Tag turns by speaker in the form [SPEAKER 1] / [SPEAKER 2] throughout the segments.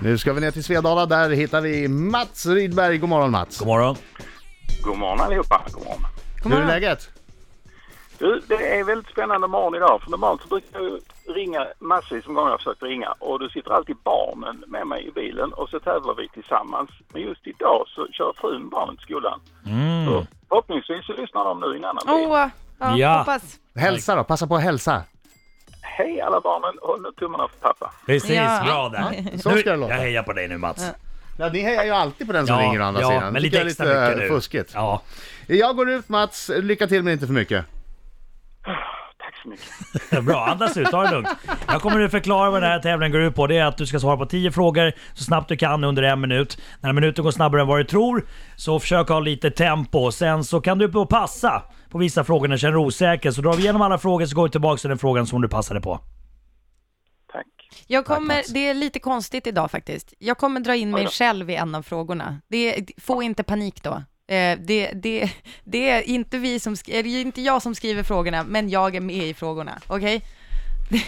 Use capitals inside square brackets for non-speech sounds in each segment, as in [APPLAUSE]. [SPEAKER 1] Nu ska vi ner till Svedala, där hittar vi Mats Rydberg. God morgon Mats!
[SPEAKER 2] God morgon.
[SPEAKER 3] God morgon allihopa. God morgon.
[SPEAKER 1] Hur är läget?
[SPEAKER 3] Du, det är en väldigt spännande morgon idag. För normalt så brukar jag ju ringa massvis som gånger jag har försökt ringa. Och då sitter alltid barnen med mig i bilen och så tävlar vi tillsammans. Men just idag så kör frun barnen till skolan.
[SPEAKER 2] Mm.
[SPEAKER 3] Så förhoppningsvis så lyssnar de nu i en annan bil.
[SPEAKER 4] Åh, ja,
[SPEAKER 2] Ja.
[SPEAKER 4] hoppas.
[SPEAKER 1] Hälsa då, passa på att hälsa.
[SPEAKER 3] Hej alla barnen, håll nu tummarna för pappa.
[SPEAKER 2] Precis,
[SPEAKER 4] Ja.
[SPEAKER 2] bra där.
[SPEAKER 1] så
[SPEAKER 2] Nu-
[SPEAKER 1] ska det låta.
[SPEAKER 2] Jag hejar på dig nu Mats.
[SPEAKER 1] Ja, ni hejar ju alltid på den som ringer å andra
[SPEAKER 2] ja,
[SPEAKER 1] sidan.
[SPEAKER 2] men
[SPEAKER 1] Tycker
[SPEAKER 2] lite
[SPEAKER 1] jag är
[SPEAKER 2] extra
[SPEAKER 1] lite,
[SPEAKER 2] mycket nu.
[SPEAKER 1] eh, fuskigt.
[SPEAKER 2] Ja.
[SPEAKER 1] Jag går ut Mats, lycka till men inte för mycket.
[SPEAKER 3] Tack så mycket.
[SPEAKER 2] Bra, andas ut, ta det lugnt. Jag kommer nu förklara vad den här tävlingen går ut på. Det är att du ska svara på 10 frågor så snabbt du kan under en minut. När minuten går snabbare än vad du tror, så försök ha lite tempo. Sen så kan du på passa på vissa frågor när du känner dig osäker. Så drar vi igenom alla frågor så går vi tillbaka till den frågan som du passade på.
[SPEAKER 3] Tack.
[SPEAKER 4] Jag kommer,
[SPEAKER 2] Mats.
[SPEAKER 4] det är lite konstigt idag faktiskt. Jag kommer dra in
[SPEAKER 3] Oj
[SPEAKER 4] mig
[SPEAKER 3] då.
[SPEAKER 4] själv i en av frågorna. Det, få inte panik då. Eh, Det, det, det är inte vi som, sk- eller det är inte jag som skriver frågorna, men jag är med i frågorna. Okej?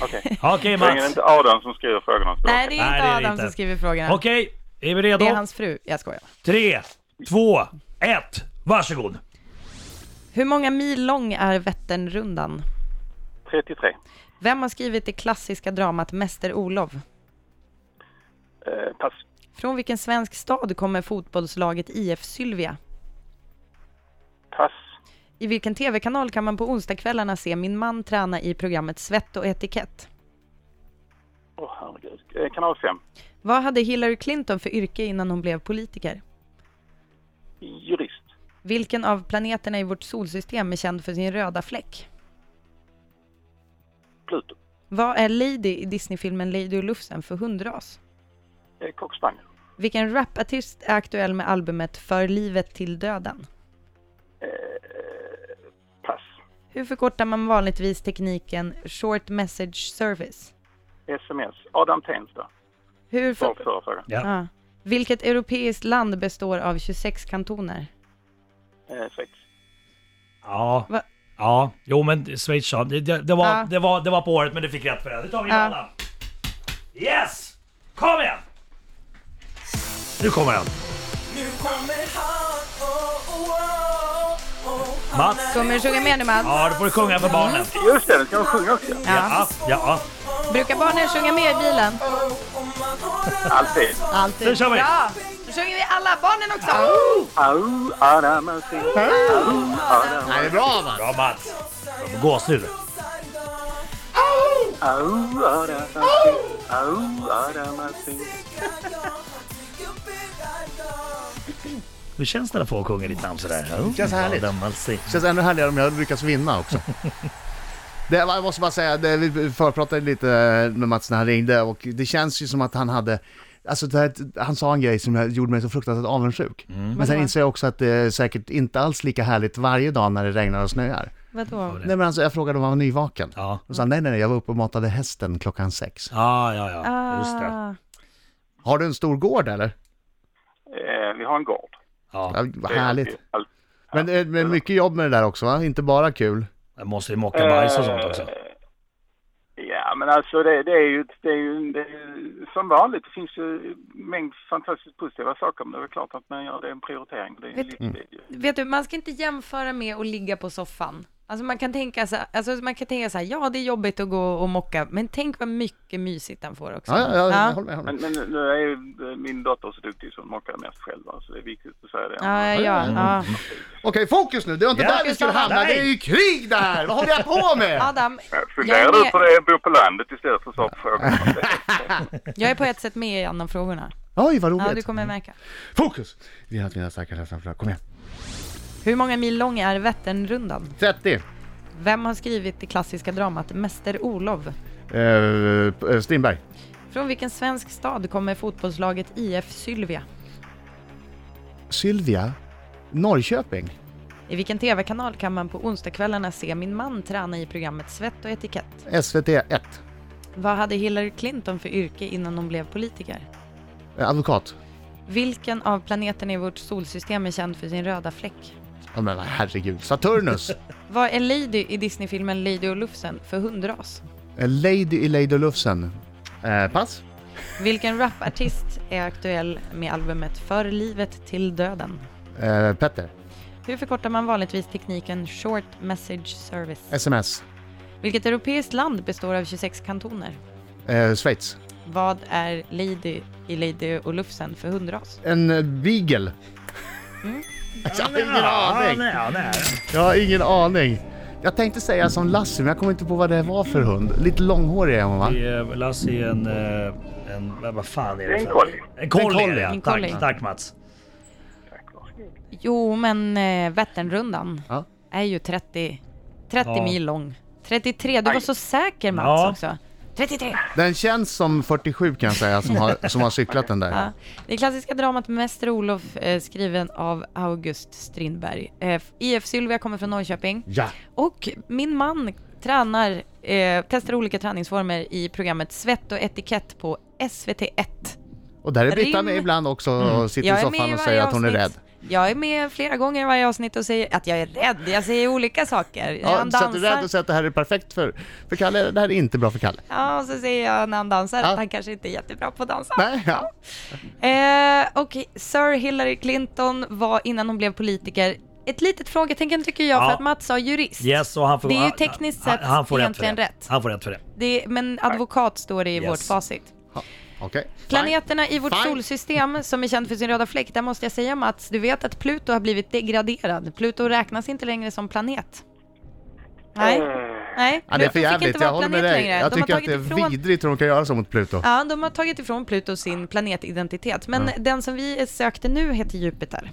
[SPEAKER 3] Okej.
[SPEAKER 2] Okej
[SPEAKER 3] Så länge det
[SPEAKER 2] Mats.
[SPEAKER 3] inte är Adam som skriver frågorna. så-
[SPEAKER 4] Nej, det är
[SPEAKER 2] Nej,
[SPEAKER 4] inte
[SPEAKER 2] det är det
[SPEAKER 4] Adam
[SPEAKER 2] inte.
[SPEAKER 4] som skriver frågorna.
[SPEAKER 2] Okej, är vi
[SPEAKER 4] Det är
[SPEAKER 2] redo?
[SPEAKER 4] hans fru. Jag skojar.
[SPEAKER 2] Tre, två, ett, varsågod.
[SPEAKER 4] Hur många mil lång är Vätternrundan?
[SPEAKER 3] 33.
[SPEAKER 4] Vem har skrivit det klassiska dramat Mäster Olof?
[SPEAKER 3] Eh, pass.
[SPEAKER 4] Från vilken svensk stad kommer fotbollslaget IF Sylvia?
[SPEAKER 3] Pass.
[SPEAKER 4] I vilken tv-kanal kan man på onsdagskvällarna se min man träna i programmet Svett och etikett?
[SPEAKER 3] Åh herregud. Eh, kanal 5.
[SPEAKER 4] Vad hade Hillary Clinton för yrke innan hon blev politiker?
[SPEAKER 3] Jurist.
[SPEAKER 4] Vilken av planeterna i vårt solsystem är känd för sin röda fläck?
[SPEAKER 3] Pluto.
[SPEAKER 4] Vad är Lady i Disneyfilmen Lady och Lufsen för hundras?
[SPEAKER 3] Eh, Kockspaniel.
[SPEAKER 4] Vilken rapartist är aktuell med albumet För livet till döden?
[SPEAKER 3] Eh, Pass.
[SPEAKER 4] Hur förkortar man vanligtvis tekniken Short Message Service?
[SPEAKER 3] Sms. Adam Tensta.
[SPEAKER 4] Hur för...
[SPEAKER 3] Svar på förra frågan.
[SPEAKER 2] Ja.
[SPEAKER 4] Ja. Vilket europeiskt land består av 26 kantoner?
[SPEAKER 3] Eh, sex.
[SPEAKER 2] Ja.
[SPEAKER 4] Va?
[SPEAKER 2] Ja, jo men Schweiz sa- det, det, det, var,
[SPEAKER 4] Ja.
[SPEAKER 2] det, var, det var på året men du fick rätt för det. Nu tar vi in
[SPEAKER 4] Ja.
[SPEAKER 2] alla. Yes! Kom igen! Nu kommer den.
[SPEAKER 5] Nu kommer han, oh, oh, oh, oh, han
[SPEAKER 2] Mats.
[SPEAKER 5] är
[SPEAKER 4] Kommer du sjunga med nu Mats?
[SPEAKER 2] Ja, då får du sjunga för barnen.
[SPEAKER 3] Just det, den ska de sjunga också.
[SPEAKER 2] Ja, ja.
[SPEAKER 4] Brukar barnen sjunga med i bilen?
[SPEAKER 5] Om man har en
[SPEAKER 3] Alltid.
[SPEAKER 4] Alltid.
[SPEAKER 2] Nu kör vi.
[SPEAKER 4] Ja, nu sjunger vi alla, barnen också!
[SPEAKER 3] Au, Adam är sin. Au, Adam,
[SPEAKER 1] Nej, det är bra Mats!
[SPEAKER 2] Bra Mats. Gåshud.
[SPEAKER 3] au, Adam är sin. Au, Adam är sin.
[SPEAKER 2] Hur känns det när folk sjunger ditt namn sådär?
[SPEAKER 1] Känns härligt.
[SPEAKER 2] Ja, den man ser.
[SPEAKER 1] Känns ännu härligare om jag lyckas vinna också. Det, jag måste bara säga, det, vi förpratade lite eh, med Mats när han ringde och det känns ju som att han hade Alltså det här, han sa en grej som jag gjorde mig så fruktansvärt avundsjuk.
[SPEAKER 2] Mm.
[SPEAKER 1] Men sen inser jag också att det är säkert inte alls lika härligt varje dag när det regnar och snöar.
[SPEAKER 4] Vadå?
[SPEAKER 1] Nej men alltså jag frågade om han var nyvaken.
[SPEAKER 2] Ja.
[SPEAKER 1] Och sa han, nej nej nej, jag var uppe och matade hästen klockan sex.
[SPEAKER 2] Ja, ja, ja. Just det.
[SPEAKER 4] Ah.
[SPEAKER 1] Har du en stor gård eller?
[SPEAKER 3] Eh, Vi har en gård.
[SPEAKER 2] Ja,
[SPEAKER 1] Ja, vad
[SPEAKER 3] Det är
[SPEAKER 1] härligt.
[SPEAKER 3] alltid- alltid.
[SPEAKER 1] Men, eh, men mycket jobb med det där också va? Inte bara kul.
[SPEAKER 2] jag måste ju mocka bajs och sånt också.
[SPEAKER 3] Eh, Ja, men alltså det, det, är ju, det, är ju, det är ju som vanligt. Det finns ju en mängd fantastiskt positiva saker. Men det är väl klart att man gör det är en prioritering. Det är ju
[SPEAKER 4] Vet-
[SPEAKER 2] Mm.
[SPEAKER 3] lite, det är ju-
[SPEAKER 4] Vet du, man ska inte jämföra med att ligga på soffan. Alltså man kan tänka så här, alltså man kan tänka så här ja det är jobbigt att gå och mocka, men tänk vad mycket mysigt han får också.
[SPEAKER 1] Ja, ja, ja,
[SPEAKER 4] Ja.
[SPEAKER 1] håll med. Håll med.
[SPEAKER 3] men, men nu är ju eh, min dotter så duktig så hon mockar mest själv. va, Så det är viktigt att säga det.
[SPEAKER 4] Ja, ja, ja.
[SPEAKER 1] Okej, fokus nu! Det var inte
[SPEAKER 2] Ja.
[SPEAKER 1] där vi skulle hamna,
[SPEAKER 2] Nej.
[SPEAKER 1] det är ju krig det här! Vad håller jag på med?
[SPEAKER 4] Adam, jag
[SPEAKER 3] Funderar
[SPEAKER 4] är,
[SPEAKER 3] du på
[SPEAKER 4] med,
[SPEAKER 3] det? Bo på landet istället för att svara på frågan.
[SPEAKER 4] jag är på ett sätt med i annan frågorna.
[SPEAKER 1] Oj, vad
[SPEAKER 4] Ja, du
[SPEAKER 1] roligt!
[SPEAKER 4] kommer märka.
[SPEAKER 1] Fokus! Vi har haft mina starka hälsan framför Kom igen.
[SPEAKER 4] Hur många mil lång är Vätternrundan?
[SPEAKER 1] 30.
[SPEAKER 4] Vem har skrivit det klassiska dramat Mäster Olof?
[SPEAKER 1] Uh, Strindberg.
[SPEAKER 4] Från vilken svensk stad kommer fotbollslaget IF Sylvia?
[SPEAKER 1] Sylvia. Norrköping.
[SPEAKER 4] I vilken tv-kanal kan man på onsdagskvällarna se min man träna i programmet Svett och etikett?
[SPEAKER 1] SVT 1.
[SPEAKER 4] Vad hade Hillary Clinton för yrke innan hon blev politiker?
[SPEAKER 1] Eh, advokat.
[SPEAKER 4] Vilken av planeterna i vårt solsystem är känd för sin röda fläck?
[SPEAKER 1] Ja men herregud. Saturnus.
[SPEAKER 4] Vad är Lady i Disneyfilmen Lady och Lufsen för hundras?
[SPEAKER 1] Eh, Lady i Lady och Lufsen. Eh, pass.
[SPEAKER 4] Vilken rapartist är aktuell med albumet För livet till döden?
[SPEAKER 1] Eh, Petter.
[SPEAKER 4] Hur förkortar man vanligtvis tekniken Short Message Service?
[SPEAKER 1] SMS.
[SPEAKER 4] Vilket europeiskt land består av 26 kantoner?
[SPEAKER 1] Eh, Schweiz.
[SPEAKER 4] Vad är Lady i Lady och Lufsen för hundras?
[SPEAKER 1] En eh, beagle.
[SPEAKER 4] Mm.
[SPEAKER 1] [LAUGHS] Jag har ingen aning.
[SPEAKER 2] nej, ja, nej.
[SPEAKER 1] Jag har ingen aning. Jag tänkte säga som Lassie, men jag kommer inte på vad det var för hund. Lite långhårig är hon va?
[SPEAKER 4] Mm.
[SPEAKER 2] Det är- Lasse är en... eh, en vad- vad fan är det
[SPEAKER 3] En
[SPEAKER 2] för-
[SPEAKER 3] collie.
[SPEAKER 2] En collie,
[SPEAKER 1] collie.
[SPEAKER 2] ja.
[SPEAKER 4] En collie.
[SPEAKER 2] Tack, tack Mats.
[SPEAKER 4] Jo, men eh, Vätternrundan
[SPEAKER 1] Ja.
[SPEAKER 4] är ju 30, 30
[SPEAKER 2] Ja.
[SPEAKER 4] mil lång. 33, du var så säker Mats
[SPEAKER 2] Ja.
[SPEAKER 4] också. 33!
[SPEAKER 1] Den känns som 47 kan jag säga, som
[SPEAKER 4] [LAUGHS]
[SPEAKER 1] har, som har cyklat den där.
[SPEAKER 4] Ja. Det klassiska dramat Mäster Olof eh, skriven av August Strindberg. Eh, IF Sylvia kommer från Norrköping.
[SPEAKER 1] Ja.
[SPEAKER 4] Och min man tränar, eh, testar olika träningsformer i programmet Svett och etikett på SVT1.
[SPEAKER 1] Och där är Britta
[SPEAKER 4] Rim.
[SPEAKER 1] med ibland också
[SPEAKER 4] Mm.
[SPEAKER 1] och sitter i soffan och
[SPEAKER 4] varje
[SPEAKER 1] säger att hon är rädd.
[SPEAKER 4] avsnitt. Jag är med flera gånger i varje avsnitt och säger att jag är rädd. Jag säger olika saker. Ja,
[SPEAKER 1] Ja,
[SPEAKER 4] han
[SPEAKER 1] så att du är rädd
[SPEAKER 4] dansar.
[SPEAKER 1] och säger att det här är perfekt för, för Kalle, det här är inte bra för Kalle.
[SPEAKER 4] Ja, och så säger jag när han dansar
[SPEAKER 1] Ja.
[SPEAKER 4] att han kanske inte är jättebra på att dansa.
[SPEAKER 1] Nej, ja.
[SPEAKER 4] Eh, Okej, Sir Hillary Clinton var innan hon blev politiker ett litet frågetecken tycker jag för
[SPEAKER 2] Ja.
[SPEAKER 4] att Mats sa jurist.
[SPEAKER 2] Yes, och han får,
[SPEAKER 4] det är ju
[SPEAKER 2] han-
[SPEAKER 4] tekniskt
[SPEAKER 2] han-
[SPEAKER 4] sett
[SPEAKER 2] han får rätt för
[SPEAKER 4] egentligen
[SPEAKER 2] det.
[SPEAKER 4] rätt.
[SPEAKER 2] Han får rätt för det.
[SPEAKER 4] Det är, men advokat står det i
[SPEAKER 2] Yes.
[SPEAKER 4] vårt facit.
[SPEAKER 1] Ja, Okej.
[SPEAKER 4] Planeterna i vårt
[SPEAKER 1] Fine.
[SPEAKER 4] solsystem som är känd för sin röda fläck, där måste jag säga Mats, du vet att Pluto har blivit degraderad. Pluto räknas inte längre som planet. Nej, nej.
[SPEAKER 1] Ja, det är
[SPEAKER 4] Pluto
[SPEAKER 1] för
[SPEAKER 4] fick
[SPEAKER 1] jävligt,
[SPEAKER 4] inte vara
[SPEAKER 1] jag håller med
[SPEAKER 4] planet
[SPEAKER 1] dig.
[SPEAKER 4] längre.
[SPEAKER 1] Jag
[SPEAKER 4] De har
[SPEAKER 1] tycker att det är
[SPEAKER 4] tagit ifrån-
[SPEAKER 1] vidrigt hur de kan göra så mot Pluto.
[SPEAKER 4] Ja, de har tagit ifrån Pluto
[SPEAKER 1] Ah.
[SPEAKER 4] sin planetidentitet. Men
[SPEAKER 1] Mm.
[SPEAKER 4] den som vi sökte nu heter Jupiter.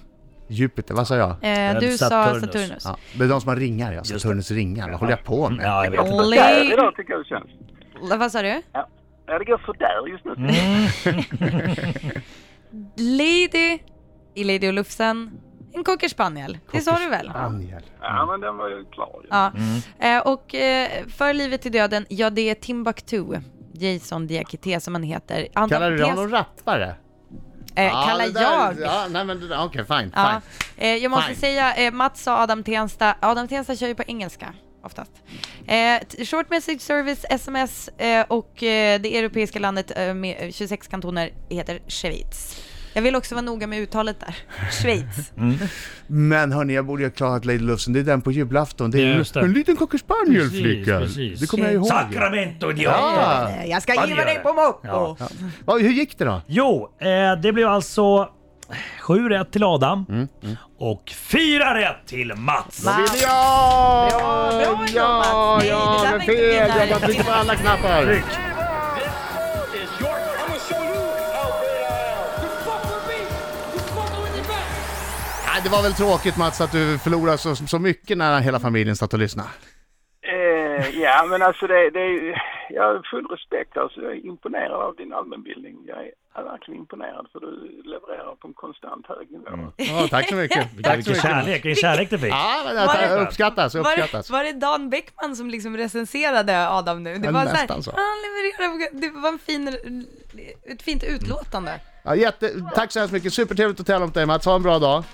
[SPEAKER 1] Jupiter, vad sa jag?
[SPEAKER 4] Eh, du sa
[SPEAKER 2] Saturnus.
[SPEAKER 4] Saturnus.
[SPEAKER 1] Ja, det är de som har ringar, ja.
[SPEAKER 2] det.
[SPEAKER 1] Saturnus ringar. Vad håller jag på med?
[SPEAKER 2] Ja, jag vet inte.
[SPEAKER 4] Le-
[SPEAKER 3] Idag tycker jag det känns.
[SPEAKER 4] Vad sa du?
[SPEAKER 3] Ja. Ja, det går sådär just nu.
[SPEAKER 4] Lady i Lady och Lufsen. En cocker spaniel. Det sa du väl?
[SPEAKER 1] Daniel.
[SPEAKER 3] Ja, men den var ju klar. ju.
[SPEAKER 4] Ja.
[SPEAKER 1] Mm.
[SPEAKER 4] Eh, och eh, för livet till döden, ja det är Timbuktu. Jason Diakité som han heter. Han
[SPEAKER 1] Kallar du
[SPEAKER 4] pes-
[SPEAKER 1] honom rappare?
[SPEAKER 4] eh,
[SPEAKER 1] Ja,
[SPEAKER 4] Kallar
[SPEAKER 1] det där-
[SPEAKER 4] jag?
[SPEAKER 1] Ja, nej men det där- okej, fine,
[SPEAKER 4] Ja.
[SPEAKER 1] fine.
[SPEAKER 4] Eh, jag måste
[SPEAKER 1] Fine.
[SPEAKER 4] säga, eh, Mats sa Adam Tensta. Adam Tensta kör ju på engelska oftast. Eh, t- short message service, sms eh, och eh, det europeiska landet eh, med 26 kantoner heter Schweiz. Jag vill också vara noga med
[SPEAKER 1] [LAUGHS]
[SPEAKER 4] uttalet där. Schweiz.
[SPEAKER 1] Mm, Men hörni, jag borde ju ha klarat Lady Lufsen. Det är den på julafton. Det är
[SPEAKER 2] Just det.
[SPEAKER 1] en liten cocker spaniel
[SPEAKER 2] Precis,
[SPEAKER 1] flicka.
[SPEAKER 2] precis.
[SPEAKER 1] Det kommer jag ihåg.
[SPEAKER 2] Sacramento, idiot!
[SPEAKER 1] Ja.
[SPEAKER 4] Eh, Jag ska
[SPEAKER 2] Vad
[SPEAKER 4] ge
[SPEAKER 2] gör
[SPEAKER 4] dig
[SPEAKER 2] det?
[SPEAKER 4] på mocko!
[SPEAKER 2] Ja.
[SPEAKER 1] Ja, hur gick det då?
[SPEAKER 2] Jo, eh, det blev alltså 7 rätt till Adam
[SPEAKER 1] Mm,
[SPEAKER 2] och 4 rätt till Mats.
[SPEAKER 4] Va?
[SPEAKER 1] Vill jag?
[SPEAKER 4] Bra, bra jobbat.
[SPEAKER 1] Ja,
[SPEAKER 4] Nej, det
[SPEAKER 1] ja,
[SPEAKER 4] där
[SPEAKER 1] men
[SPEAKER 4] var
[SPEAKER 1] fel.
[SPEAKER 4] inte vinnare.
[SPEAKER 1] Jag bara tryckte på alla knappar. Nej, det var väl tråkigt Mats att du förlorade så, så mycket när hela familjen satt och lyssnade.
[SPEAKER 3] Eh, ja, men alltså det, det är ju- Jag har full respekt. Alltså, jag är imponerad av din allmänbildning. Jag är verkligen imponerad för du levererar på en konstant hög nivå.
[SPEAKER 1] Ja, tack så
[SPEAKER 4] [LAUGHS]
[SPEAKER 1] mycket.
[SPEAKER 2] Vilken-
[SPEAKER 1] Tack så
[SPEAKER 2] Vilken
[SPEAKER 1] mycket.
[SPEAKER 2] kärlek, vilken kärlek du fick.
[SPEAKER 1] Ja, men det uppskattas,
[SPEAKER 4] Var det,
[SPEAKER 1] uppskattas.
[SPEAKER 4] var det Dan Bäckman som liksom recenserade Adam nu? Det
[SPEAKER 1] Ja,
[SPEAKER 4] var så
[SPEAKER 1] nästan
[SPEAKER 4] här,
[SPEAKER 1] så.
[SPEAKER 4] han levererade, på- det var en fin, ett fint utlåtande.
[SPEAKER 1] Ja, jätte, tack så hemskt mycket. Supertrevligt att tävla mot dig Mats. Ha en bra dag.